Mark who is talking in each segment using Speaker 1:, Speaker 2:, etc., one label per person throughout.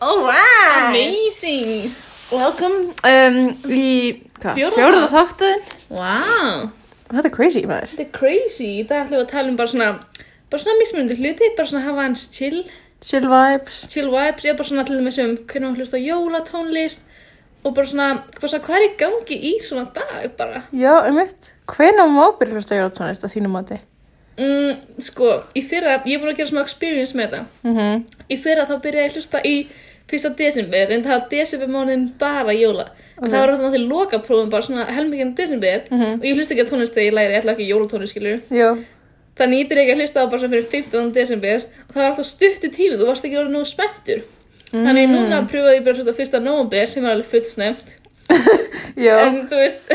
Speaker 1: Alright
Speaker 2: Amazing
Speaker 1: Welcome um, í hvað,
Speaker 2: Fjórða.
Speaker 1: fjórða þáttuðin
Speaker 2: Wow
Speaker 1: Þetta er crazy maður
Speaker 2: Þetta er crazy Í dag ætlum við að tala um bara svona bara svona mismunandi hluti, bara svona hafa hans chill
Speaker 1: Chill vibes
Speaker 2: chill vibes, ég bara svona til þess um hvernig hann hlusta á jólatónlist og bara svona, bara svona hvað er í gangi í svona dag bara
Speaker 1: Já, um mitt Hvenær má byrja hlusta jólatónlist að þínu mati?
Speaker 2: mm, sko, í fyrra, ég er búin að gera smá experience með þetta
Speaker 1: Mm -hmm.
Speaker 2: í fyrra þá byrjaði ég að hlusta í fyrsta desember, en það var desember mánuðin bara jóla, en það var rátt náttúrulega lokaprófum bara svona helmingin desember og ég hlusta ekki að tónlist þegar ég læri, ég ætla ekki jólatónlist skilur,
Speaker 1: Já
Speaker 2: þannig ég byrjaði ekki að hlusta á bara svona fyrir 15. desember og það var alltaf stuttu tími, þú varst ekki orðið nógu spenntur þannig núna pröfaði ég bara að hlusta á fyrsta november sem var alveg fullsnemt
Speaker 1: Já
Speaker 2: en þú veist,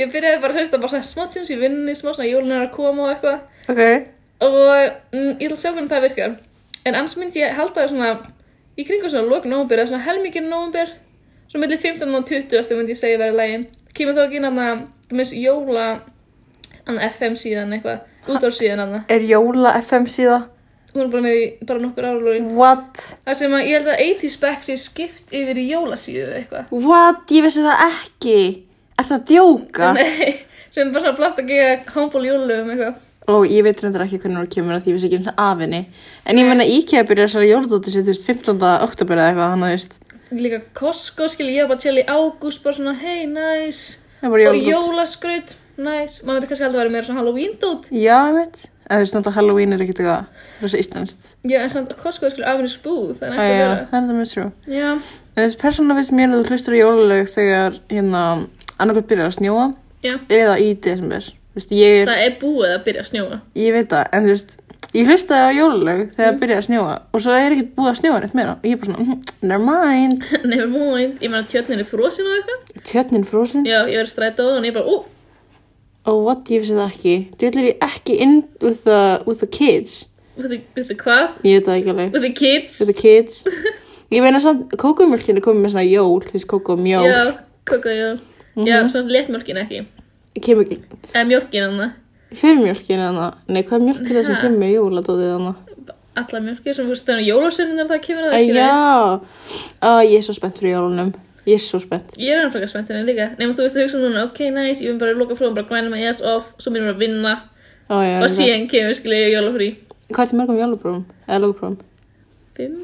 Speaker 2: ég byrjaði bara að hlusta bara svona smá tjóns í vinninni, smá svona jólun er að koma og eitthvað
Speaker 1: Ok
Speaker 2: og mm, ég ætla að sjá hvernig það virkar en annars myndi ég halda það svona í kringum svona lok nóvumber eða svona helmingin nóvumber svona millir 15 og 20 myndi ég segja verið lægin kemur þá ekki inn að minnst jóla annað FM síðan eitthvað útár síðan annað
Speaker 1: Er jóla FM síða?
Speaker 2: hún er bara með í bara nokkur áralógin
Speaker 1: What?
Speaker 2: það sem að ég held að 80s back sé skipt yfir í jólasíðu eða eitthvað
Speaker 1: What? Ég vissi það ekki Er það að djóka?
Speaker 2: Nei, sem bara svona blast að gera hámból jólulegum eitthvað
Speaker 1: Ó, ég veit reyndar ekki hvernig hún kemur að því ég vissi ekki einu sinni af henni En ég menna IKEA byrjar þessari jólatóti sér, þú veist, 15. oktober eða eitthvað, þannig að þú veist
Speaker 2: líka Costco skil ég var bara chill í ágúst bara svona hey nice
Speaker 1: Það er bara
Speaker 2: og
Speaker 1: jóladót.
Speaker 2: jólaskraut, næs, maður veitir kannski að það væri meira svona Halloween dút
Speaker 1: Já, ég veit Það er snart að Halloween er ekkert eitthvað rosa íslenskt
Speaker 2: já, en svona Costco er skilur afhennis búð þannig
Speaker 1: Æ,
Speaker 2: ekki
Speaker 1: já,
Speaker 2: að vera
Speaker 1: Það er það mjög trú
Speaker 2: já,
Speaker 1: En þessi persónulega finnst mér að þú hlustur á jólalög þegar hérna annarkvæmt byrjar að snjóa
Speaker 2: já,
Speaker 1: eða í desember Þú veist, ég, er,
Speaker 2: það er búið að byrja að snjóa
Speaker 1: ég veit það, en þú veist Ég hlustaði á jólalög þegar mm. byrjaði að snjóa og svo er ekkert búið að snjóa neitt meira og ég er bara svona, "Mhm, never mind
Speaker 2: never mind, ég meina tjörnin er frosin og eitthvað
Speaker 1: Tjörnin frosin
Speaker 2: já, ég verið strætað og ég bara, ú,
Speaker 1: Oh, what, ég vissi það ekki. Dillir ég ekki in with the, with the kids.
Speaker 2: with the, with the hvað
Speaker 1: Ég veit það ekki alveg.
Speaker 2: with the kids,
Speaker 1: With the kids. Ég meina samt, kókumjölkin er komið með svona jól, þú veist, kókumjól.
Speaker 2: já, koka, já já,
Speaker 1: Mhm.
Speaker 2: svona léttmjölkin ekki
Speaker 1: Kemur ekki,
Speaker 2: eða mjölkin hann
Speaker 1: fjörmjölkin er hana. Nei, hvað er mjölkin það sem
Speaker 2: Ha.
Speaker 1: kemur með jóladótið hana?
Speaker 2: alla mjölkin sem fyrst þannig jólasöninnar það kemur að
Speaker 1: Æ,
Speaker 2: það skilur.
Speaker 1: já. Æ, ég er svo spennt fyrir jólunum. Ég er svo spennt.
Speaker 2: Ég er hann frekar spennt henni líka Nefnum þú veist að hugsa núna, ok, nice, ég vil bara loka frá bara græna með yes off, svo mér að vinna
Speaker 1: Ó, já.
Speaker 2: og síðan kemur skilja ég jólafrí
Speaker 1: Hvað er til mörgum jólaprófum? Eða lókaprófum?
Speaker 2: Fimm,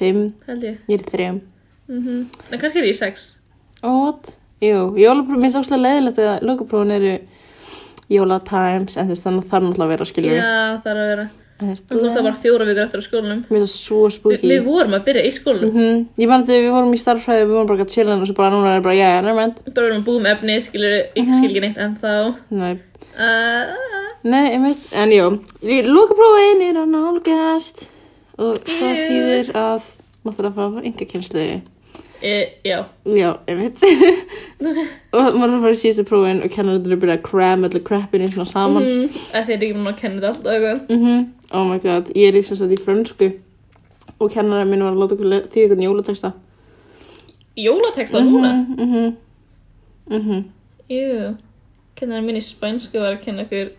Speaker 1: Fimm.
Speaker 2: held ég
Speaker 1: Ég er í þrejum.
Speaker 2: mm En kannski er ég sex
Speaker 1: Ó, what? Jú, jólaprófum, mér er sáslega leiðilegt að lókaprófum eru jólatimes, en þú veist, þannig að það er náttúrulega að vera, skiljum
Speaker 2: Já, það er að vera
Speaker 1: En veist,
Speaker 2: Þú veist það var fjóra vikur eftir á skólanum
Speaker 1: Mér finnst það svo
Speaker 2: Vi,
Speaker 1: spooky
Speaker 2: Við vorum að byrja í skólanum
Speaker 1: mm Ég man að þegar við vorum í starffræði Við vorum bara að chilla og svo bara núna er bara Jæja, nærmend
Speaker 2: Bara vorum að búið með efni, skilur Ég
Speaker 1: Mhm.
Speaker 2: skil ekki neitt en þá
Speaker 1: Nei,
Speaker 2: uh,
Speaker 1: Nei einmitt, en jú Lókaprófin er að nálgast Og það
Speaker 2: Ew.
Speaker 1: þýðir að Náttúrulega fara að fara enga kjenslu
Speaker 2: e, Já,
Speaker 1: Já, einmitt Og maður er að fara í síðustu prófin Og kennarinn er að byrja að cram öllu crappinu svona saman mm.
Speaker 2: mm, að þeir eru ekki núna að kenna þetta alltaf eitthvað
Speaker 1: Oh my god, ég er í sem sagt í frönsku Og kennarinn minn var að láta okkur le- þýða eitthvað jólateksta
Speaker 2: Jólateksta núna
Speaker 1: Mhm, mhm, mhm
Speaker 2: Jú, kennarinn minn í spænsku var að kenna ykkur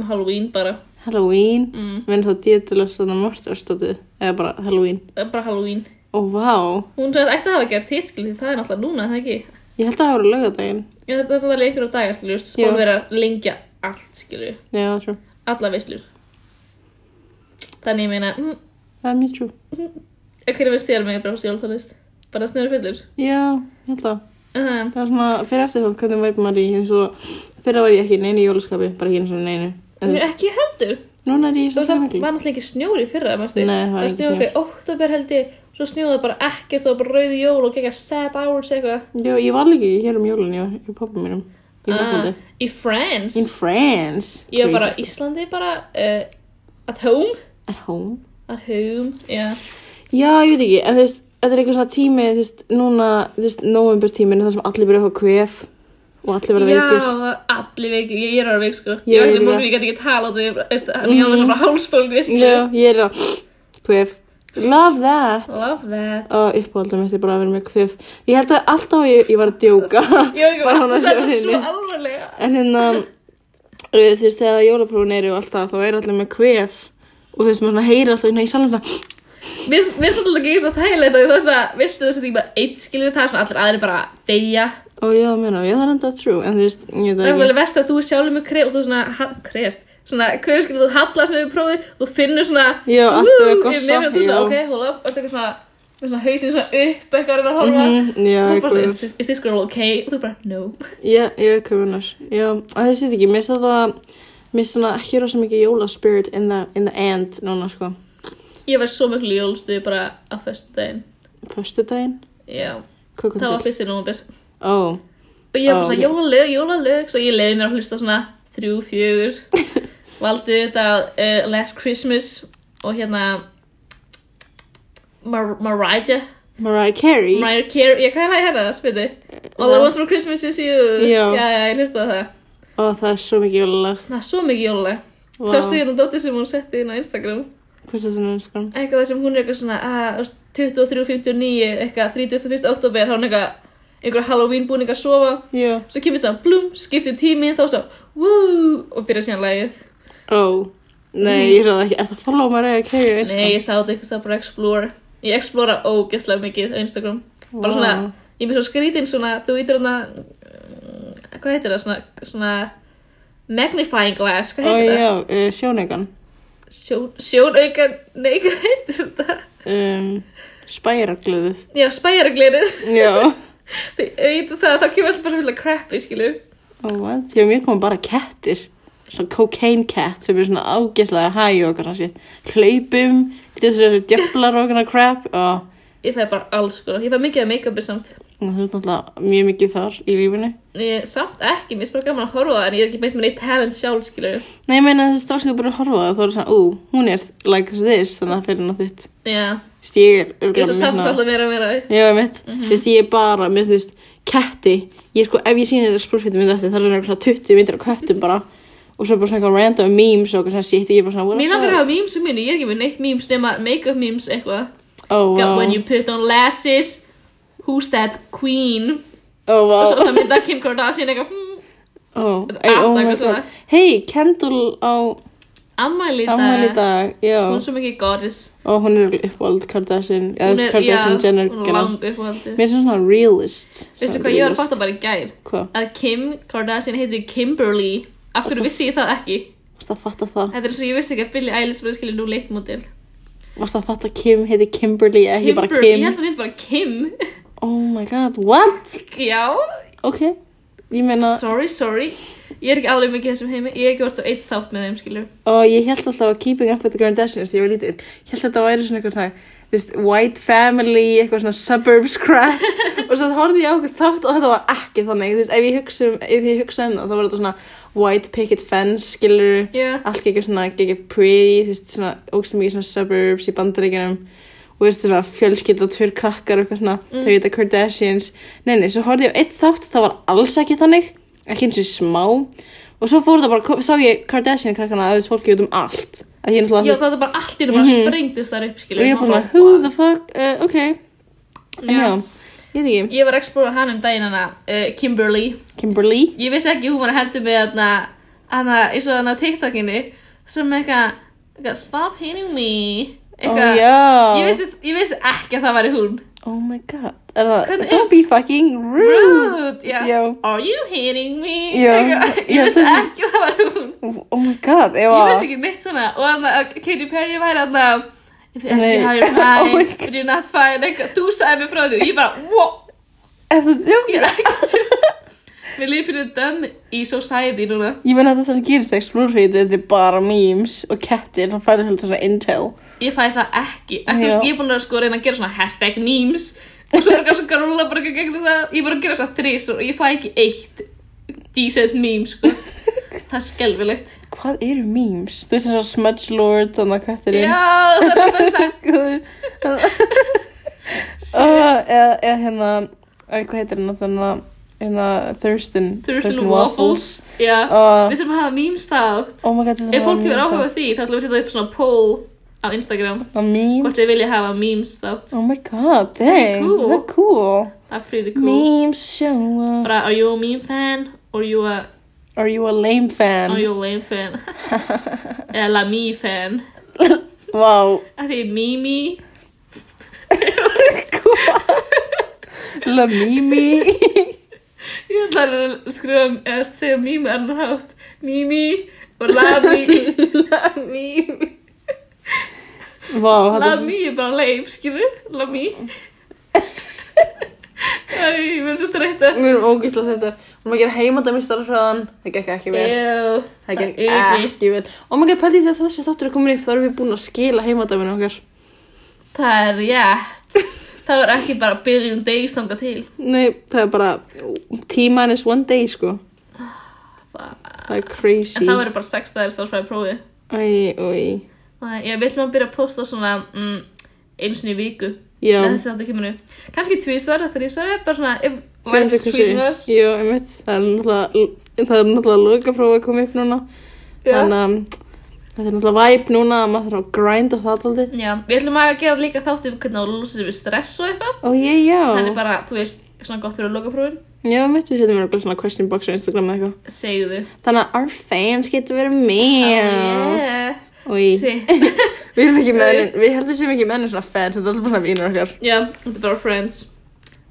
Speaker 2: um Halloween bara
Speaker 1: Halloween
Speaker 2: mm,
Speaker 1: Mér finnst það dýrtilega svona mörgtörstótið eða bara Halloween
Speaker 2: það er Eh, bara Halloween
Speaker 1: og vá,
Speaker 2: hún sagði ætti að hafa gert hitt skil því það er náttúrulega núna er það ekki
Speaker 1: ég held að það voru lögadaginn
Speaker 2: Já, það það er alveg ykkur á dagar skilur
Speaker 1: Já.
Speaker 2: spóð vera að lengja allt skilur
Speaker 1: Já, það er trú,
Speaker 2: alla veislur þannig ég meina mm,
Speaker 1: það er mjög trú
Speaker 2: hverju veist þér um með brást jólatónlist bara snöru fyllur
Speaker 1: Já, ég held að
Speaker 2: uh,
Speaker 1: það er svona fyrir eftir þá hvernig væp maður í eins og fyrir var ég ekki í neinu jólaskapi bara ekki eins og neinu En þú veist,
Speaker 2: ekki heldur
Speaker 1: Núna er ég
Speaker 2: þú
Speaker 1: svo
Speaker 2: veist það
Speaker 1: mikil
Speaker 2: var náttúrulega ekki snjóri fyrra manstu?
Speaker 1: Nei, það var
Speaker 2: það
Speaker 1: ekki
Speaker 2: snjóði
Speaker 1: snjór.
Speaker 2: okkur oktober held ég svo snjóði bara ekkert það var bara rauð jól og gegga sad hours eitthvað
Speaker 1: Já, ég var líka hér um jólun, ég var í pappa mínum í Fraklandi
Speaker 2: Ah, í France
Speaker 1: In France
Speaker 2: ég var bara
Speaker 1: Crazy.
Speaker 2: í Íslandi bara uh, at home
Speaker 1: At home
Speaker 2: at home, já
Speaker 1: Já, ég veit ekki, en þú veist, þetta er eitthvað svona tími, þú veist, núna, þú veist, november tímin, það sem allir byrja að fá kvef og allir vera
Speaker 2: Já,
Speaker 1: veikir.
Speaker 2: það er allir veikir, ég er að vera veik sko
Speaker 1: Ég
Speaker 2: Ég
Speaker 1: er
Speaker 2: var ekki
Speaker 1: líka.
Speaker 2: morgun, ég gæti ekki tala á því veist, Ég hafði svona bara hálsbólgu, veist
Speaker 1: Mhm. Já, ég er að kvef. Love that.
Speaker 2: Love that
Speaker 1: Og uppáhaldum mitt er bara að vera með kvef. Ég held að alltaf ég, ég var að djóka.
Speaker 2: Ég var
Speaker 1: Bara
Speaker 2: ekki bara,
Speaker 1: hún að
Speaker 2: það er
Speaker 1: sjá
Speaker 2: svo
Speaker 1: henni.
Speaker 2: alvarlega
Speaker 1: En hérna, uh, þú veist, þegar jólaprófun eru og alltaf, þá eru allir með kvef. Og þú veist, maður svona heyrir alltaf hérna í salum svona,
Speaker 2: Mér mér er svolítið ekki svo þægilegt að þú veist að, veistu þú veist ekki bara eitt skilur það sem allir aðrir bara deyja.
Speaker 1: og já, meina, já, það er enda true en þú veist, ég
Speaker 2: Það er
Speaker 1: veit
Speaker 2: svolítið
Speaker 1: ekki
Speaker 2: vest að þú er sjálfur með kref og þú svona, ha, kref, svona, kref skilur þú hallast með prófið, þú finnur svona,
Speaker 1: Já, allt er að
Speaker 2: woo,
Speaker 1: gossa,
Speaker 2: í nefnum, þú svona,
Speaker 1: já.
Speaker 2: ok, hold up, og þetta er svona, með svona hausin svona upp, eitthvað að reyna að horfa.
Speaker 1: Mhm, Já,
Speaker 2: Þú
Speaker 1: ég
Speaker 2: bara,
Speaker 1: veit
Speaker 2: is this- is this girl okay? Og þú bara, no.
Speaker 1: Já, ég veit hvað vinnar. Já, að þessi ekki, mér finnst það, mér finnst svona ekki rosa mikið jólaspirit in the, in the end núna, sko.
Speaker 2: Ég var svo miklu jólstuði bara á föstu daginn.
Speaker 1: Föstu daginn,
Speaker 2: Já,
Speaker 1: hvað kom
Speaker 2: það var
Speaker 1: til?
Speaker 2: fyrst í nómabir.
Speaker 1: Ó,
Speaker 2: Og ég
Speaker 1: Ó,
Speaker 2: var bara svona,
Speaker 1: ok.
Speaker 2: jólalög, jólalög, svo ég leiði mér að hlusta á svona þrjú, fjögur. Valdi þetta uh, Last Christmas og hérna Mar Mariah.
Speaker 1: Mariah Carey.
Speaker 2: Mariah Carey, ég hvað er lagi hennar, veit þið? All I want for Christmas is you.
Speaker 1: Já.
Speaker 2: Já, já, ég hlusta á það.
Speaker 1: Ó, það er svo mikið jólalag.
Speaker 2: Það er svo mikið jólalag.
Speaker 1: Vá.
Speaker 2: Wow. Sástu hérna dóttir sem hún setti inn á Instagram.
Speaker 1: Hvað er það svona Instagram?
Speaker 2: eitthvað þar sem hún er eitthvað svona uh, 23.59, eitthvað 31. oktober þá er hún eitthvað einhver Halloween búning að sofa
Speaker 1: Já.
Speaker 2: svo kemur það blum, skiptir tími þá svo woo og byrja síðan lagið
Speaker 1: Ó, nei, ég ráði ekki, er það follow Mariah Carey á
Speaker 2: nei,
Speaker 1: Instagram?
Speaker 2: ég sá þetta eitthvað það bara explore ég explora ógeðslega mikið á Instagram bara svona,
Speaker 1: Vá.
Speaker 2: ég mér svo skrítinn svona þú ítir hana uh, hvað heitir það, svona, svona magnifying glass, hvað
Speaker 1: Ó,
Speaker 2: heitir
Speaker 1: já, uh, sjónaukan.
Speaker 2: það Sjón, sjónaukan, nei, hvað heitir þetta
Speaker 1: Um, Spæraglöðuð.
Speaker 2: já, spæjaraglerið
Speaker 1: Já.
Speaker 2: Því- Ég veit það, þá kemur alltaf bara svolítið crappi, skilu.
Speaker 1: Ó, what? Já, mér kom bara kettir. Svona cocaine cat sem er svona ágæslega hæg og okkar sétt. Hlaupum, getur þessu djöflar og okkar crap og
Speaker 2: Ég fæði bara alls konar. Ég fæði mikið af make-upi samt.
Speaker 1: og þú ert náttúrulega mjög mikið þar í lífinu.
Speaker 2: Ég, samt ekki, mér er bara gaman að horfa á það, en ég er ekki beitt með neitt talent sjálf, skilu.
Speaker 1: Nei, ég meina þessi strax þegar þú bara horfa á það þá er það svona, ú, hún er like this, þannig að það fyrir hann á þitt.
Speaker 2: Já,
Speaker 1: Þú hérna- veist, ég er
Speaker 2: ég er svo
Speaker 1: örugglega
Speaker 2: samt
Speaker 1: með
Speaker 2: alltaf Mhm. meira og meira.
Speaker 1: Já, mitt. Þú veist, ég er bara með, þú veist, ketti. Ég er sko, ef ég sýnir þér spólfittum mynda eftir, það er náttúrulega 20 myndir af köttum bara. Og svo bara svona eitthvað random memes og eitthvað svona shit, ég er bara svona, what
Speaker 2: Mér
Speaker 1: the
Speaker 2: langar að
Speaker 1: fuck?
Speaker 2: hafa memes um mínu, ég er ekki með neitt memes nema make-up memes eitthvað.
Speaker 1: Ó,
Speaker 2: Got
Speaker 1: vá.
Speaker 2: when you put on lasses, who's that queen?
Speaker 1: Ó, vá.
Speaker 2: Og svo alltaf mynda Kim Kardashian eitthvað, hmm,
Speaker 1: Oh,
Speaker 2: Þetta
Speaker 1: ei,
Speaker 2: allt
Speaker 1: oh my
Speaker 2: eitthvað svona.
Speaker 1: god Hei, Kendall á
Speaker 2: ammæli í dag.
Speaker 1: ammæli í dag
Speaker 2: Hún
Speaker 1: Já,
Speaker 2: er svo mikið goddess.
Speaker 1: og hún er uppáld Kardashian eða
Speaker 2: Hún
Speaker 1: þessi
Speaker 2: er, já,
Speaker 1: Kardashian Jenner
Speaker 2: hún er
Speaker 1: gena.
Speaker 2: lang uppáhaldið.
Speaker 1: Mér er svona realist
Speaker 2: Veistu
Speaker 1: Svona
Speaker 2: hvað ég var að
Speaker 1: realist.
Speaker 2: fatta bara í gær?
Speaker 1: Hvað?
Speaker 2: að Kim Kardashian heitir Kimberly af hverju
Speaker 1: Varstu-
Speaker 2: vissi ég það ekki
Speaker 1: Varst að fatta það?
Speaker 2: þetta er eins og ég vissi ekki að Billie Eilish verið skilja nú leikmodel
Speaker 1: Varst að fatta Kim heiti Kimberly eða ekki bara
Speaker 2: Kimber- ég held
Speaker 1: Kim?
Speaker 2: að þetta bara Kim
Speaker 1: Oh my god, what?
Speaker 2: já,
Speaker 1: Ok, ég meina
Speaker 2: sorry, sorry ég er ekki alveg mikið í þessum heimi ég hef ekki vart á eitt þátt með þeim skilju
Speaker 1: og ég held alltaf að Keeping Up with the Kardashians þegar ég var lítil, ég held að þetta væri svona eitthvað svona þú veist, white family, eitthvað svona suburbs crap og svo horfði ég á okkur þátt og þetta var ekki þannig þú veist, ef ég hugsa um, ef ég hugsa um það þá var þetta svona white picket fence, skilur
Speaker 2: Já.
Speaker 1: allt geggjur svona, geggjur pretty þú veist, svona, ógst mikið svona suburbs í bandaríkjunum og þú veist, svona fjölskylda tvör krakkar og eitthvað svona,
Speaker 2: Mm.
Speaker 1: þau heita Kardashians nei, nei, svo horfði ég á eitt þátt það var alls ekki þannig, ekki eins og smá og svo fór þetta bara, sá ég Kardashian krakkana að þess fólki út um allt að ég náttúrulega, þú
Speaker 2: ég var
Speaker 1: veist,
Speaker 2: þetta bara allt í einu bara sprengdist þar upp
Speaker 1: Mhm. og
Speaker 2: skilju
Speaker 1: ég bara, svona, who the fuck uh, ok, en já,
Speaker 2: Já.
Speaker 1: ég veit ekki
Speaker 2: ég var að explora hann um daginn hana uh, Kimberly
Speaker 1: Kimberly,
Speaker 2: ég vissi ekki hún var að heldur með hana, hana eins og hana TikTokinni sem eitthvað eitthvað, stop hitting me
Speaker 1: oh
Speaker 2: eitthvað
Speaker 1: já
Speaker 2: Ég vissi, ég vissi ekki að það væri hún
Speaker 1: oh my god, er það,
Speaker 2: Hvernig-
Speaker 1: don't be fucking rude,
Speaker 2: Rude, já
Speaker 1: Já.
Speaker 2: Are you hitting me?
Speaker 1: Já. Já,
Speaker 2: Eitthvað, Ég vissi
Speaker 1: þessi-
Speaker 2: ekki að það væri hún
Speaker 1: oh my god, ég
Speaker 2: Ég
Speaker 1: var
Speaker 2: vissi ekki neitt svona Og hann að Katy Perry væri hann að If you ask
Speaker 1: Nei.
Speaker 2: me
Speaker 1: Oh
Speaker 2: how you're
Speaker 1: my
Speaker 2: fine,
Speaker 1: God.
Speaker 2: but you're not fine eitthvað, Þú sagði mér frá því og ég bara Wow,
Speaker 1: er það,
Speaker 2: ég
Speaker 1: já,
Speaker 2: er ekki Mér líður fyrir döm í society núna
Speaker 1: ég meina að þetta sem gerist að explore feed, þetta er bara memes og kettir sem færi heldur svona intel
Speaker 2: Ég fæ það ekki Ekki
Speaker 1: Já.
Speaker 2: veist, ég er búin að sko reyna að gera svona hashtag memes Og svo er ekki svona rúla bara gegn það Ég er bara að gera svona þrís og ég fæ ekki eitt Decent meme sko Það er skelfilegt
Speaker 1: hvað eru memes, þú veist þess að smudge lord, þannig að kettirinn
Speaker 2: Já, það er bara sagt
Speaker 1: Guður uh, eða, eða hérna æ, hvað heitir hérna hérna, hérna Thurston
Speaker 2: Thurston Waffles Já,
Speaker 1: Uh,
Speaker 2: við þurfum að hafa memes þátt
Speaker 1: oh my god þetta
Speaker 2: Ef fólk hefur
Speaker 1: memes
Speaker 2: áhuga á því, þá ætlum við að setja upp svona poll á Instagram
Speaker 1: á
Speaker 2: Hvort
Speaker 1: memes
Speaker 2: þið vilja hafa memes þátt
Speaker 1: oh my god dang
Speaker 2: cool.
Speaker 1: það er cool
Speaker 2: Það er pretty cool
Speaker 1: memes show up
Speaker 2: Bara, are you a meme fan? Or you a,
Speaker 1: are you a lame
Speaker 2: are
Speaker 1: fan
Speaker 2: you a lame fan? Eða la me fan
Speaker 1: wow
Speaker 2: Af því Mimi
Speaker 1: La Mimi
Speaker 2: Ég ætla að skrifa um, eða segja mými annar hátt. Mými og lami.
Speaker 1: La Mimi Vá, þetta er-
Speaker 2: lami er bara leim, skilur? Lami. Æ, ég verður svo þreytta.
Speaker 1: Við erum ógíslega þetta Og maður gerir heimandamir starffræðan Það gekk ekki vel
Speaker 2: Jú.
Speaker 1: Það gekk ekki vel Oh Og maður gerir pæli þegar þessi þáttur er komin upp Þá erum við búin að skila heimandaminu okkar
Speaker 2: Það er rétt. Það er ekki bara byrjun degis þangað til.
Speaker 1: Nei, það er bara Tíma is one day, sko
Speaker 2: Það-
Speaker 1: Það er crazy
Speaker 2: En það verður bara sex dagar starfsfæði prófið.
Speaker 1: Æ, æ
Speaker 2: Nei, Ég vil maður byrja að posta svona mm, eins og í viku.
Speaker 1: Já.
Speaker 2: Nei, Þessi þetta kemur upp. Kannski tvísverða, þrísverða, bara svona if
Speaker 1: Fyrir
Speaker 2: life's
Speaker 1: þessu-
Speaker 2: treating us.
Speaker 1: Jú, einmitt, það er náttúrulega það er náttúrulega lokaprófa að koma upp núna
Speaker 2: Já.
Speaker 1: þannig að mm, þetta er náttúrulega væp núna að maður þarf að grinda það alltaf
Speaker 2: Já, við ætlum að gera líka þátt um hvernig að lúsa við stress og eitthvað.
Speaker 1: Ó, ég, já
Speaker 2: Það er bara, þú veist, svona gott fyrir að loka prófin.
Speaker 1: Já, mitt, við setjum mér svona question box á Instagram eða eitthvað
Speaker 2: Segðu þið.
Speaker 1: Þannig að our fans getur verið með
Speaker 2: Yeah.
Speaker 1: Og í,
Speaker 2: Shit.
Speaker 1: við erum ekki með henni við heldum sem ekki með henni svona fans þetta er alltaf bara vínur okkar
Speaker 2: Já, þetta er bara friends.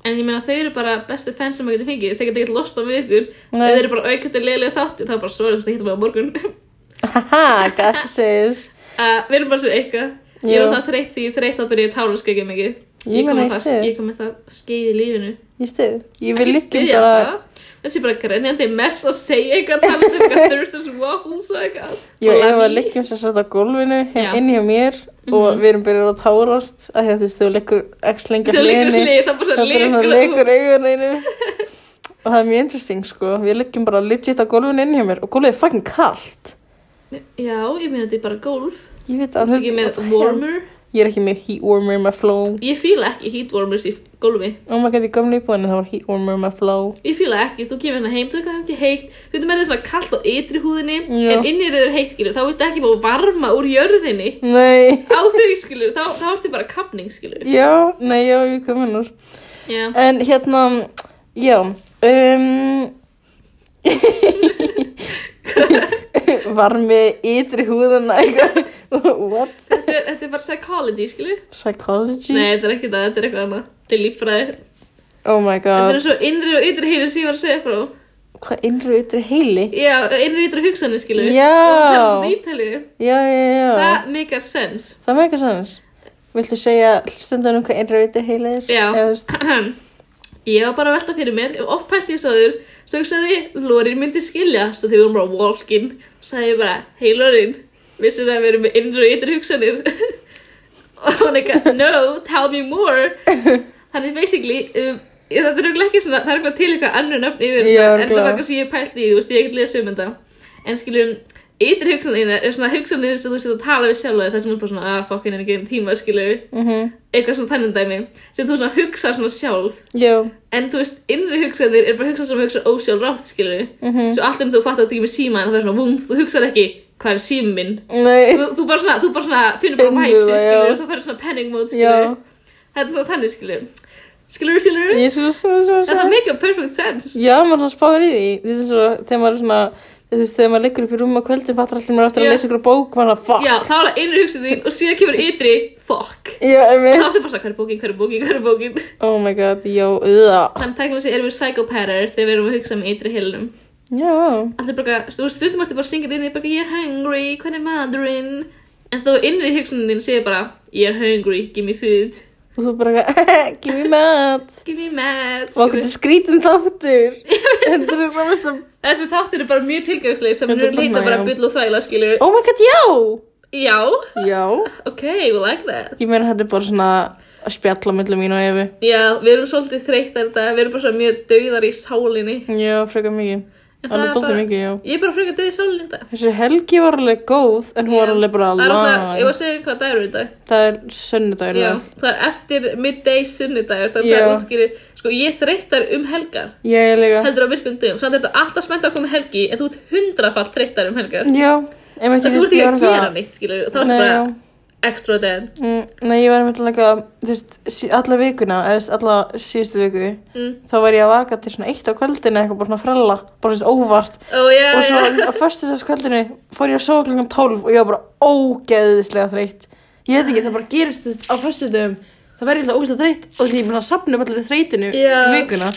Speaker 2: En ég meina þau eru bara bestu fans sem maður getur fengið. Þeir geta ekkert lost á við ykkur.
Speaker 1: Nei.
Speaker 2: Þau eru bara aukvæmt að leiðlega þátti. Það er bara svarið, þetta hittum við á morgun.
Speaker 1: Haha, gotcha sis
Speaker 2: Uh, við erum bara svo eitthvað. Ég
Speaker 1: Já.
Speaker 2: er á það þreytt því ég er þreytt að byrja að tára skegja mikið.
Speaker 1: Ég
Speaker 2: kom
Speaker 1: var
Speaker 2: með
Speaker 1: næst
Speaker 2: það-
Speaker 1: þig.
Speaker 2: Ég kom með það skeið í lífinu.
Speaker 1: Ég stuð, ég vil
Speaker 2: Ekki
Speaker 1: líkjum
Speaker 2: styðja
Speaker 1: bara
Speaker 2: það. Þessi bara grenjandi mess að segja eitthvað, tala um eitthvað Thursters Waffles og eitthvað.
Speaker 1: Jú,
Speaker 2: Og
Speaker 1: ég var
Speaker 2: Lamí.
Speaker 1: að leggjum sér svolítið á gólfinu
Speaker 2: Já. Mhm.
Speaker 1: heim inn hjá mér og við erum byrjað að tárast að því að þú veist, þú leggur x lengi
Speaker 2: Þegar liggur hlið, það bara
Speaker 1: hérna það
Speaker 2: svona
Speaker 1: bara
Speaker 2: liggur.
Speaker 1: hann leggur augun einu og það er mjög interesting sko við leggjum bara legit á gólfinu inn hjá mér og gólfið er fucking kallt
Speaker 2: Já, ég meina þetta er bara golf.
Speaker 1: ég veit að þú
Speaker 2: Ég með
Speaker 1: what the hell?
Speaker 2: warmer.
Speaker 1: ég er ekki með heat warmer in my flow
Speaker 2: Ég fíla ekki heat warmers í golfi.
Speaker 1: oh my god, ég gamla íbúinu það var heat warmer in my flow
Speaker 2: Ég fíla ekki, þú kemur hérna heim, þú er ekki heitt. Þú veitum að það er svona kallt á ytri húðinni,
Speaker 1: Já.
Speaker 2: en innir er heitt skilur. Þá veitum ekki fá varma úr jörðinni.
Speaker 1: nei,
Speaker 2: Á þau skilur, þá, þá ertu bara kapning skilur.
Speaker 1: já, nei, já, ég komin úr
Speaker 2: Já.
Speaker 1: En hérna, já, um, varmi ytri húðuna eitthvað, what?
Speaker 2: Þetta er- þetta er bara psychology, skilu?
Speaker 1: Psychology?
Speaker 2: Nei, þetta er ekki það, þetta er eitthvað annað. Þetta er líffræði.
Speaker 1: Oh my
Speaker 2: Þetta
Speaker 1: god,
Speaker 2: er svo innri og ytri heilu sem ég var að segja frá.
Speaker 1: hvað innri og ytri heili?
Speaker 2: Já, innri og ytri hugsanir, skilu.
Speaker 1: Já.
Speaker 2: Og það er ítalið.
Speaker 1: Já, já, já,
Speaker 2: Það mikar sens.
Speaker 1: það með eitthvað sanns. Viltu segja hlustundanum hvað innri og ytri heili er?
Speaker 2: Já.
Speaker 1: Eða, þú veist,
Speaker 2: Ég var bara að velta fyrir mér, oft pælt ég sáður, svo hugsaði, ég, Lorin myndi skilja, svo þegar við vorum bara walk-in, sagði ég bara, hei Lorin, vissir það að við erum með innri og ytri hugsanir? og hún eitthvað, no, tell me more þannig basically um, ég, það er örugglega ekki svona, það er örugglega til eitthvað annu nöfn yfir
Speaker 1: Já,
Speaker 2: þetta, en það
Speaker 1: örugglega.
Speaker 2: var eitthvað sem ég pælt í þú veist, ég hef ekkert lesið um þetta en skiljum, ytri hugsanina er svona hugsanir sem þú sétt að tala við sjálf og það sem er bara svona, ah, fokkin er ekki einn tíma, skiljum
Speaker 1: mhm,
Speaker 2: eitthvað svona þannig dæmi, sem þú svona hugsa svona sjálf
Speaker 1: já,
Speaker 2: en þú veist, innri hugsanir er bara hugsan sem hugsa ósjálfrátt, skiljum
Speaker 1: Mhm.
Speaker 2: svo allt um þú fattar þetta ekki með síma en það er svona, vum, þú hugsar ekki, hvað er síminn minn
Speaker 1: nei,
Speaker 2: þú, þú bara svona, þú bara svona finnur bara
Speaker 1: Finnur
Speaker 2: væpsi,
Speaker 1: það,
Speaker 2: skilur,
Speaker 1: já.
Speaker 2: þú færir svona panic mode,
Speaker 1: já,
Speaker 2: skilur, þetta er svona þannig, skilur, skilur, skilur,
Speaker 1: ég svo, svo, svo, svo.
Speaker 2: þetta make a perfect sense,
Speaker 1: Já, maður svona spáður í því Þetta er svo, þegar maður er svona Þú veist, þegar maður liggur upp í rúm á kvöldin Fattar allir maður eftir
Speaker 2: Já.
Speaker 1: að lesa ykkur bók Maður er að fuck
Speaker 2: já, þá er það innri hugsun þín og síðan kemur ytri, fuck,
Speaker 1: Já,
Speaker 2: þá
Speaker 1: einmitt
Speaker 2: er það bara svona, hvað er bókin, hvað er bókin, hvað er bókin,
Speaker 1: Oh my god, já, auða
Speaker 2: þannig tæknilega sér erum við psychopatter þegar við erum að hugsa um ytri heilunum,
Speaker 1: Já,
Speaker 2: allir bara, þú veist, stundum ertu bara að syngja þetta inn í, bara, ég er hungry, hvernig er maturinn, en þó innri hugsunin þín segir bara, ég er hungry, give me food,
Speaker 1: og þú bara eitthvað Give me mat
Speaker 2: give me mad,
Speaker 1: Og okkur
Speaker 2: skilur.
Speaker 1: til skrítin þáttur Þetta er bara mest að
Speaker 2: þessi þáttir eru bara mjög tilgangslega sem
Speaker 1: Þetta er
Speaker 2: eru leita
Speaker 1: bara,
Speaker 2: bara
Speaker 1: já.
Speaker 2: bull og þvæla, skilur,
Speaker 1: Oh my god, já
Speaker 2: Já,
Speaker 1: Já
Speaker 2: ok, we like that.
Speaker 1: Ég meina þetta er bara svona Að spjalla mellum mín og efi
Speaker 2: Já, við erum svolítið þreytar þetta, við erum bara svona mjög dauðar í sálinni.
Speaker 1: Já, frekar mikið
Speaker 2: En það
Speaker 1: Alveg
Speaker 2: er
Speaker 1: dóttir
Speaker 2: bara-
Speaker 1: mikið, já
Speaker 2: Ég er bara frekar dauð í sálinni þetta.
Speaker 1: Þessi helgi var alveg góð En hún var alveg bara
Speaker 2: Það er alltaf, ég var
Speaker 1: lang
Speaker 2: að segja hvað dagur er þetta.
Speaker 1: Það er sunnudagur í
Speaker 2: Já,
Speaker 1: dag.
Speaker 2: það er eftir midday sunnudagur, þannig
Speaker 1: Já.
Speaker 2: að það er útskýri, sko, ég er þreytar um helgar,
Speaker 1: Ég er líka
Speaker 2: heldur á virkum dögum, þannig að þetta er alltaf spennt að koma helgi, en þú ert hundrafall þreytar um helgar.
Speaker 1: Já, ég veit Mm,
Speaker 2: Það
Speaker 1: ekki
Speaker 2: þú ert ekki
Speaker 1: ég
Speaker 2: að
Speaker 1: var
Speaker 2: gera neitt, skilur, þá ertu
Speaker 1: Nei,
Speaker 2: bara
Speaker 1: já.
Speaker 2: extra dead.
Speaker 1: Mm, nei, ég var með líka, þú veist, sí- alla vikuna, eða þú veist, alla síðustu viku,
Speaker 2: Mm.
Speaker 1: þá var ég að vaka til svona eitt á kvöldinu eitthvað bara svona frella, bara svona óvart.
Speaker 2: Ó, já,
Speaker 1: og svo
Speaker 2: já.
Speaker 1: á förstu þessu kvöldinu fór ég að sofa klukkan 12 og ég var bara ógeðislega þreytt. Ég veit ekki, það bara gerist, þú veist, á förstu dögum, það verður eitthvað ógæslega þreytt og því ég er búin að sapna upp allir þreytinu
Speaker 2: Já.
Speaker 1: vikuna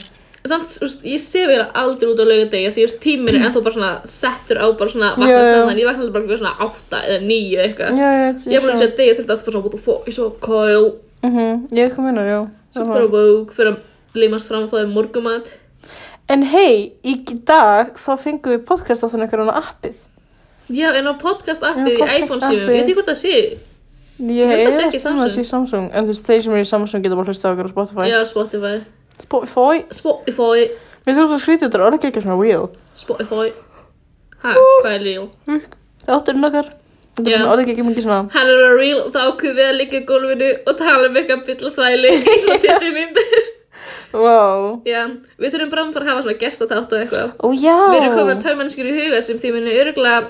Speaker 2: Samt, úst, ég sé vera aldrei út á laugardegi því úst, tíminn er ennþá bara svona settur á bara svona
Speaker 1: Já, já.
Speaker 2: vaknastöðan, ég vakna alltaf bara eitthvað svona átta eða níu eitthvað.
Speaker 1: já, já,
Speaker 2: Ég er búin að segja degi þurfti átt bara svona what the fuck, ég svo kóil,
Speaker 1: mm ég kom inn á, já
Speaker 2: svo bara á bók, fyrir að leimast fram og fá þeim morgumat.
Speaker 1: en hei, í dag þá fengum við podcast á þannig einhverjum appið
Speaker 2: Já, en á podcast
Speaker 1: Já,
Speaker 2: appið í
Speaker 1: podcast
Speaker 2: iPhone sínum,
Speaker 1: appið.
Speaker 2: ég veit ekki hvort það sé,
Speaker 1: ég
Speaker 2: held að sé
Speaker 1: er
Speaker 2: ekki
Speaker 1: að stemma
Speaker 2: Samsung.
Speaker 1: þessi í Samsung en þú veist, þeir sem eru í Samsung geta bara hlusta á okkur á Spotify
Speaker 2: já, Spotify,
Speaker 1: Spotify,
Speaker 2: Spotify,
Speaker 1: við þú svo skrítið þetta er orðið ekki svona real
Speaker 2: Spotify, hæ, hvað er líl?
Speaker 1: þátturinn okkar þetta
Speaker 2: Já.
Speaker 1: er orðið ekki mikið svona
Speaker 2: Hann er að real, þá ákveð við að liggja í gólfinu og tala um eitthvað bylla þvæli, svona 10 mínútur.
Speaker 1: wow
Speaker 2: Já, við þurfum bara að fara að hafa svona gestatátt og eitthvað.
Speaker 1: Ó já,
Speaker 2: Við erum komið að tvær mennskir í huga sem þið muni öruglega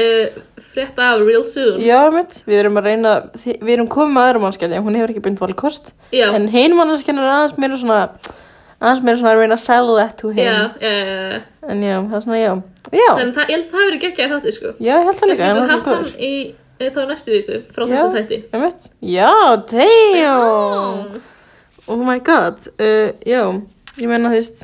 Speaker 2: uh, frétta af real soon.
Speaker 1: já mitt, við erum að reyna, þi- við erum komið með aðra mannskjæði, hún hefur ekki bynd valkost
Speaker 2: Já, já,
Speaker 1: en hinn mannskjæðin er aðeins meira svona, aðeins meira svona að reyna að sell that to him
Speaker 2: já, já, já.
Speaker 1: en já, það er svona já, já,
Speaker 2: Þannig það, ég held að það verið geggjað þáttu, sko.
Speaker 1: já, ég held það
Speaker 2: Þess
Speaker 1: líka,
Speaker 2: að
Speaker 1: en
Speaker 2: þú
Speaker 1: það er
Speaker 2: haft hann
Speaker 1: góður
Speaker 2: í eh, þá næstu viku frá
Speaker 1: Já.
Speaker 2: þessu þætti.
Speaker 1: Einmitt. já, damn oh my god uh, já, ég meina þú veist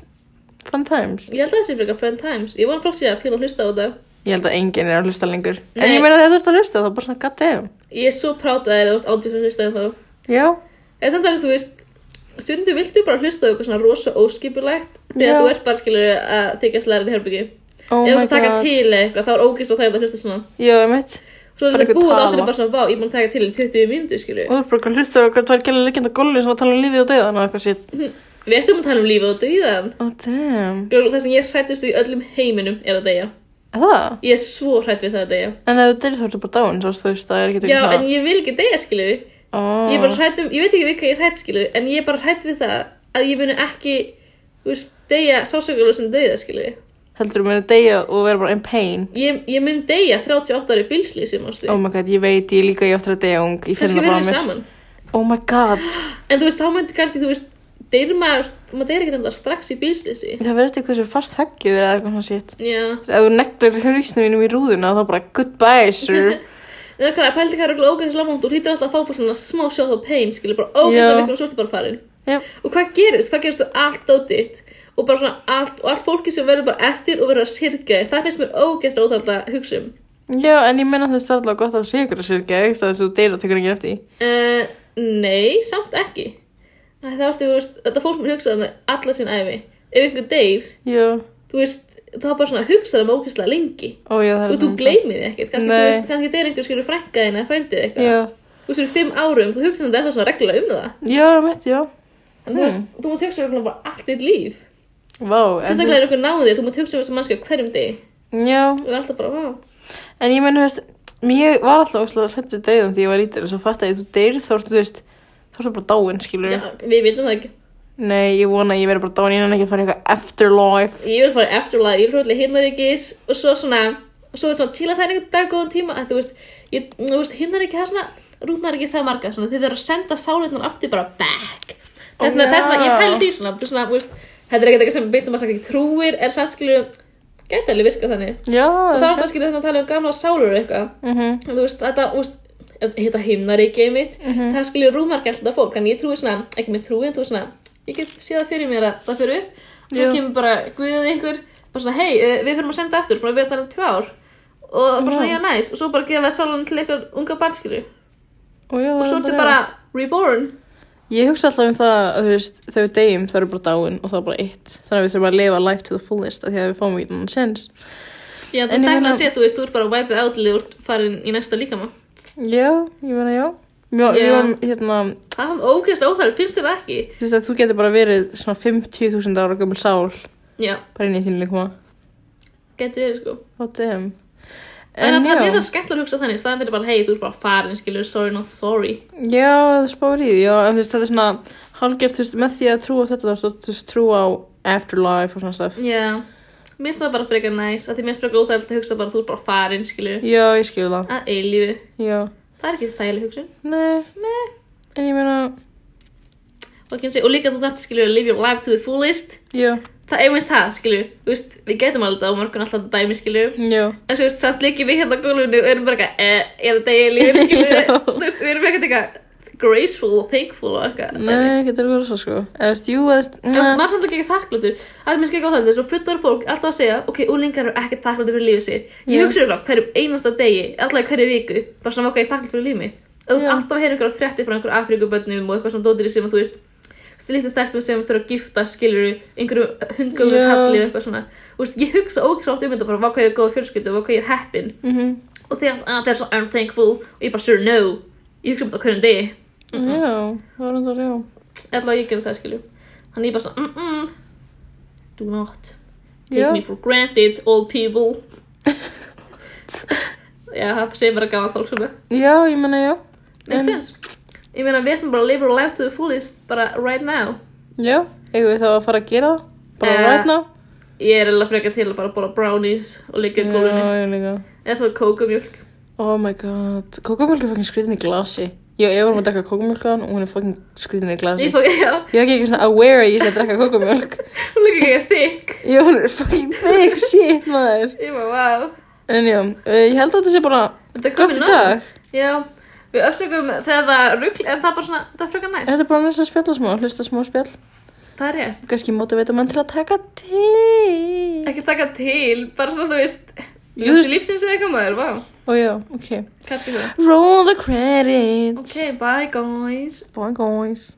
Speaker 1: fun times,
Speaker 2: Ég held að það sé frekar fun times. Ég vona fólk sé að fíla að hlusta á það.
Speaker 1: ég held að enginn er að hlusta lengur en
Speaker 2: Nei.
Speaker 1: ég meina þegar þú ert að hlusta þá bara svona god damn
Speaker 2: Ég er svo prátt að það er að þú ert átíð að hlusta en þá.
Speaker 1: já,
Speaker 2: En þannig að þú veist, stundum viltu bara hlusta á eitthvað svona rosa óskipulegt þegar
Speaker 1: Já.
Speaker 2: þú ert bara skilur að þykja slærið í herbyggi.
Speaker 1: oh
Speaker 2: Ef
Speaker 1: my
Speaker 2: þú taka
Speaker 1: god
Speaker 2: til eitthvað, þá er ógist á það að hlusta svona.
Speaker 1: já, einmitt
Speaker 2: Svo er
Speaker 1: Bara
Speaker 2: þetta
Speaker 1: eitthvað
Speaker 2: búið
Speaker 1: tala. Oh.
Speaker 2: áttur bara svona, vá, ég er búin að taka til í 20 mínútur, skilju.
Speaker 1: og þú er bara að hlusta á hvað það er gæla leikjandi á gólfi sem að tala um lífið og döðan og eitthvað sitt
Speaker 2: Hm, Við ættum að tala um lífið og döiðan.
Speaker 1: oh damn,
Speaker 2: Það sem ég hrættist í öllum heiminum er að deyja.
Speaker 1: er það?
Speaker 2: Ég er svo hrætt við það að deyja.
Speaker 1: en ef þú dyrir þá ertu bara dáin svo þú veist það er ekki
Speaker 2: Já, en ég vil ekki deyja, skilju.
Speaker 1: oh.
Speaker 2: Ég er bara hrætt um, ég veit ekki við hvað ég er hrætt, skilju, en ég er bara hrætt við það að ég muni ekki, þú veist, deyja sásökulega sem döiða, skilju.
Speaker 1: heldur þú mér að deyja og vera bara in pain
Speaker 2: Ég, ég mun deyja 38 ári bilslýsi, mannstu.
Speaker 1: oh my god, ég veit, ég líka ég áttur að deyja ung ég finn
Speaker 2: Kannski
Speaker 1: það bara á
Speaker 2: verðum við
Speaker 1: mér
Speaker 2: saman.
Speaker 1: oh my god,
Speaker 2: En þú veist, þá myndi kannski, þú veist, deyr maður, maður deyr ekki alltaf strax í bilslýsi.
Speaker 1: það verður eitthvað svo fast höggið eða eitthvað svona sitt
Speaker 2: Já.
Speaker 1: ef þú neglir hrausnum mínum í rúðuna þá bara goodbye sir
Speaker 2: Það er hvað, pældi hvað eru ógæðislega langt og hlýtur alltaf að fá bara svona smá sjóð á pain, skilur, bara ógæðislega
Speaker 1: Já.
Speaker 2: miklu og svo ertu bara farin.
Speaker 1: yep.
Speaker 2: Og hvað gerist? Hvað gerist þú allt á ditt? Og bara svona allt, og allt fólki sem verður bara eftir og verður að sirka þig. Það finnst mér ógæðislega óþægt að hugsa um.
Speaker 1: já, en ég menna þú veist það er alltaf gott að sé ykkur að sirka þess að þú deyr og tekur ekki eftir því.
Speaker 2: Uh, nei, samt ekki. Það er aftur, þú veist, þetta fólk mér hugsaði með alla sín æfi. Ef einhver deyr,
Speaker 1: já,
Speaker 2: þú veist, þá bara svona hugsaði um ógæðislega lengi.
Speaker 1: ó já það er
Speaker 2: Og þú
Speaker 1: þannig.
Speaker 2: gleymið þig ekkert, kannski, þú
Speaker 1: Nei.
Speaker 2: veist, kannski deyr einhver skilur frænka þín eða frændið eitthvað.
Speaker 1: já,
Speaker 2: Þú veist, fyrir fimm árum, þú hugsaði þetta ennþá svona reglulega um það.
Speaker 1: já, mitt, já
Speaker 2: En þú veist, þú mátt hugsa um eitthvað bara allt þitt líf.
Speaker 1: Vá, Hmm. en þú
Speaker 2: Sérstaklega er eitthvað náðið, þú mátt hugsa um þessu mannskja hverjum degi.
Speaker 1: veist- já,
Speaker 2: Þú er alltaf bara, vá.
Speaker 1: en ég menn, þú veist, mér var alltaf óslega hrættu deyðum því ég var lítil og svo fatt að þú deyr þá ertu, þú veist, þá ertu bara dáin, skilur
Speaker 2: Já, við viljum það ekki.
Speaker 1: Nei, ég vona að ég verði bara dáin, ég nenni ekki að fara í eitthvað afterlife.
Speaker 2: Ég vil fara í eftirlega, ég vil fara til himnaríkis og svo svona, og svo svona chilla það einhvern dag góðan tíma. Að, þú veist, ég, þú veist, himnaríki það er svona, rúmar ekki það marga, svona, þið verður að senda sáleitnar aftur bara back. Það
Speaker 1: Ó,
Speaker 2: er svona, það er svona,
Speaker 1: já.
Speaker 2: ég pæli því svona, þú veist, svona, þú veist, þetta er ekkert eitthvað sem beint sem maður sagt ekki trúir, en sann skilju, gæti alveg virkað þannig.
Speaker 1: Já,
Speaker 2: Og þá er það skilju þess að tala um gamla sálur og eitthvað.
Speaker 1: Mm -hmm.
Speaker 2: þú veist, þetta, þú veist, þetta himnaríkið mitt,
Speaker 1: Mhm.
Speaker 2: það skilur rúmark alltaf fólk, en ég trúi svona, ekki með trúi, en þú veist svona, ég get séð það fyrir mér að það fyrir upp, og
Speaker 1: Já.
Speaker 2: þá kemur bara guðið ykkur, bara svona, hei, eh, við fyrir að senda aftur, bara við erum tvö ár, og bara svona,
Speaker 1: Já.
Speaker 2: já, næs, og svo bara gefa sálan til ykkur unga barnskilur,
Speaker 1: Og, já,
Speaker 2: og svo ertu bara reborn,
Speaker 1: Ég hugsa alltaf um það að, þú veist, þegar við deyjum þá eru bara dáin og þá er bara eitt. Þannig að við þurfum að lifa life to the fullest af því að við fáum ekki þannig sens.
Speaker 2: já,
Speaker 1: En
Speaker 2: þú
Speaker 1: ég
Speaker 2: dækna
Speaker 1: meina-
Speaker 2: að sé, þú veist, þú ert bara wiped out, til þú ert farin í næsta líkama,
Speaker 1: Já, ég meina já. Mjó,
Speaker 2: Já.
Speaker 1: yeah. mjó, hérna,
Speaker 2: það er ógeðslega óþægilegt, finnst þér það ekki,
Speaker 1: þú veist að þú getur bara verið svona 50.000 ára gömul sál
Speaker 2: já,
Speaker 1: bara inn í þínu líkuma.
Speaker 2: geti verið, sko.
Speaker 1: Ó, damn.
Speaker 2: En, en það er
Speaker 1: já.
Speaker 2: mjög skemmtilega að hugsa þannig, staðan fyrir bara, hei, þú ert bara farin, skilur, sorry, not sorry.
Speaker 1: Já, það spáir í því, já, en þú veist, þetta er svona hálgert, þú veist, með því að trúa á þetta, þú veist, þú veist, trúa á afterlife og svona stuff.
Speaker 2: Já, mér finnst það bara frekar næs að því mér finnst frekar óþægilegt að hugsa bara að þú er bara farin, skilju,
Speaker 1: Já, ég skilur það,
Speaker 2: að eilífu.
Speaker 1: já,
Speaker 2: Það er ekki þægileg hugsun.
Speaker 1: nei,
Speaker 2: Nei.
Speaker 1: en ég meina,
Speaker 2: Og, kynsi, og líka þú þarft, skilju, að live your life to the fullest.
Speaker 1: já,
Speaker 2: Það er einmitt það, skilju, þú veist, við getum alveg það og morgun alltaf þetta dæmi, skilju.
Speaker 1: já,
Speaker 2: En svo, veist, samt líki við hérna á gólfinu og erum bara eitthvað, eh, ég er að degja lífið, skilju.
Speaker 1: Já.
Speaker 2: þú veist, við erum ekkert eitthvað, graceful og thankful og eitthvað
Speaker 1: Nei, getur þú verið svo sko Eða veist, jú, eða veist mm.
Speaker 2: Þú veist, maður er samt ekki ekki þakkláttur Það er mér skil góð það, þess að fullur fólk alltaf að segja Ok, úlingar eru ekki þakkláttur fyrir lífið sér Ég
Speaker 1: Já.
Speaker 2: hugsa um það hverjum einasta degi, alltaf í hverju viku Bara svona ok, ég er þakkláttur fyrir lífið mitt Þú veist,
Speaker 1: Já.
Speaker 2: alltaf að heyra einhverja frétti frá einhverjum Afríkubönnum og eitthvað svona dótir sem að þú veist Stilittu stelpum sem þurfa að gifta skilur einhverju hundgöðu
Speaker 1: Já.
Speaker 2: kalli og eitthvað svona Þú veist, ég hugsa ógislega oft um þetta bara vá hvað ég er góð fjölskyldu, vá hvað ég er heppin
Speaker 1: Mhm.
Speaker 2: og þeir alltaf, að þeir eru svo I'm thankful og ég bara sure no Ég hugsa um þetta á hverjum degi
Speaker 1: Já, það var enda já
Speaker 2: Alltaf ég gerði það skilju Þannig ég bara svona mm -mm, Do not take
Speaker 1: Já.
Speaker 2: me for granted old people Já, það segir bara gaman fólk svona
Speaker 1: Já, ég meina já
Speaker 2: Makes
Speaker 1: En-
Speaker 2: sense Ég meina við ætlum bara að live our life to the fullest bara right now
Speaker 1: Já, eigum við þá að fara að gera það Bara
Speaker 2: Eh,
Speaker 1: right now
Speaker 2: Ég er eða frekar til að bara bóla brownies og liggja í gólunni
Speaker 1: Já, ég líka
Speaker 2: eða fóða kókumjólk
Speaker 1: Oh my god Kókumjölk er fucking skrýtin í glasi Já, ég var með að drekka kókumjölk á hann og hún er fucking skrýtin í glasi
Speaker 2: Ég fóða, já,
Speaker 1: Ég var ekki ekki svona aware að ég sé að drekka kókumjölk
Speaker 2: hún liggja ekki þykk
Speaker 1: Já, hún er fucking thick shit, maður
Speaker 2: Ég bara, wow
Speaker 1: En já, eh, ég held að þetta sé bara
Speaker 2: Þetta er
Speaker 1: Gott
Speaker 2: komið
Speaker 1: í
Speaker 2: nóg.
Speaker 1: dag
Speaker 2: Já, við össugum þegar það rugl en það er bara svona, það er frekar næst
Speaker 1: Þetta er bara næst að spjalla smá, hlusta smá spjall
Speaker 2: Það er rétt
Speaker 1: Kanski móti veit að mann til að taka til
Speaker 2: ekki taka til, bara svo þú veist
Speaker 1: Jú,
Speaker 2: Jú,
Speaker 1: þú
Speaker 2: þú lífsins eða eitthvað maður, vá
Speaker 1: Ó já, ok
Speaker 2: kannski það
Speaker 1: Roll the credits
Speaker 2: Ok, bye guys
Speaker 1: Bye guys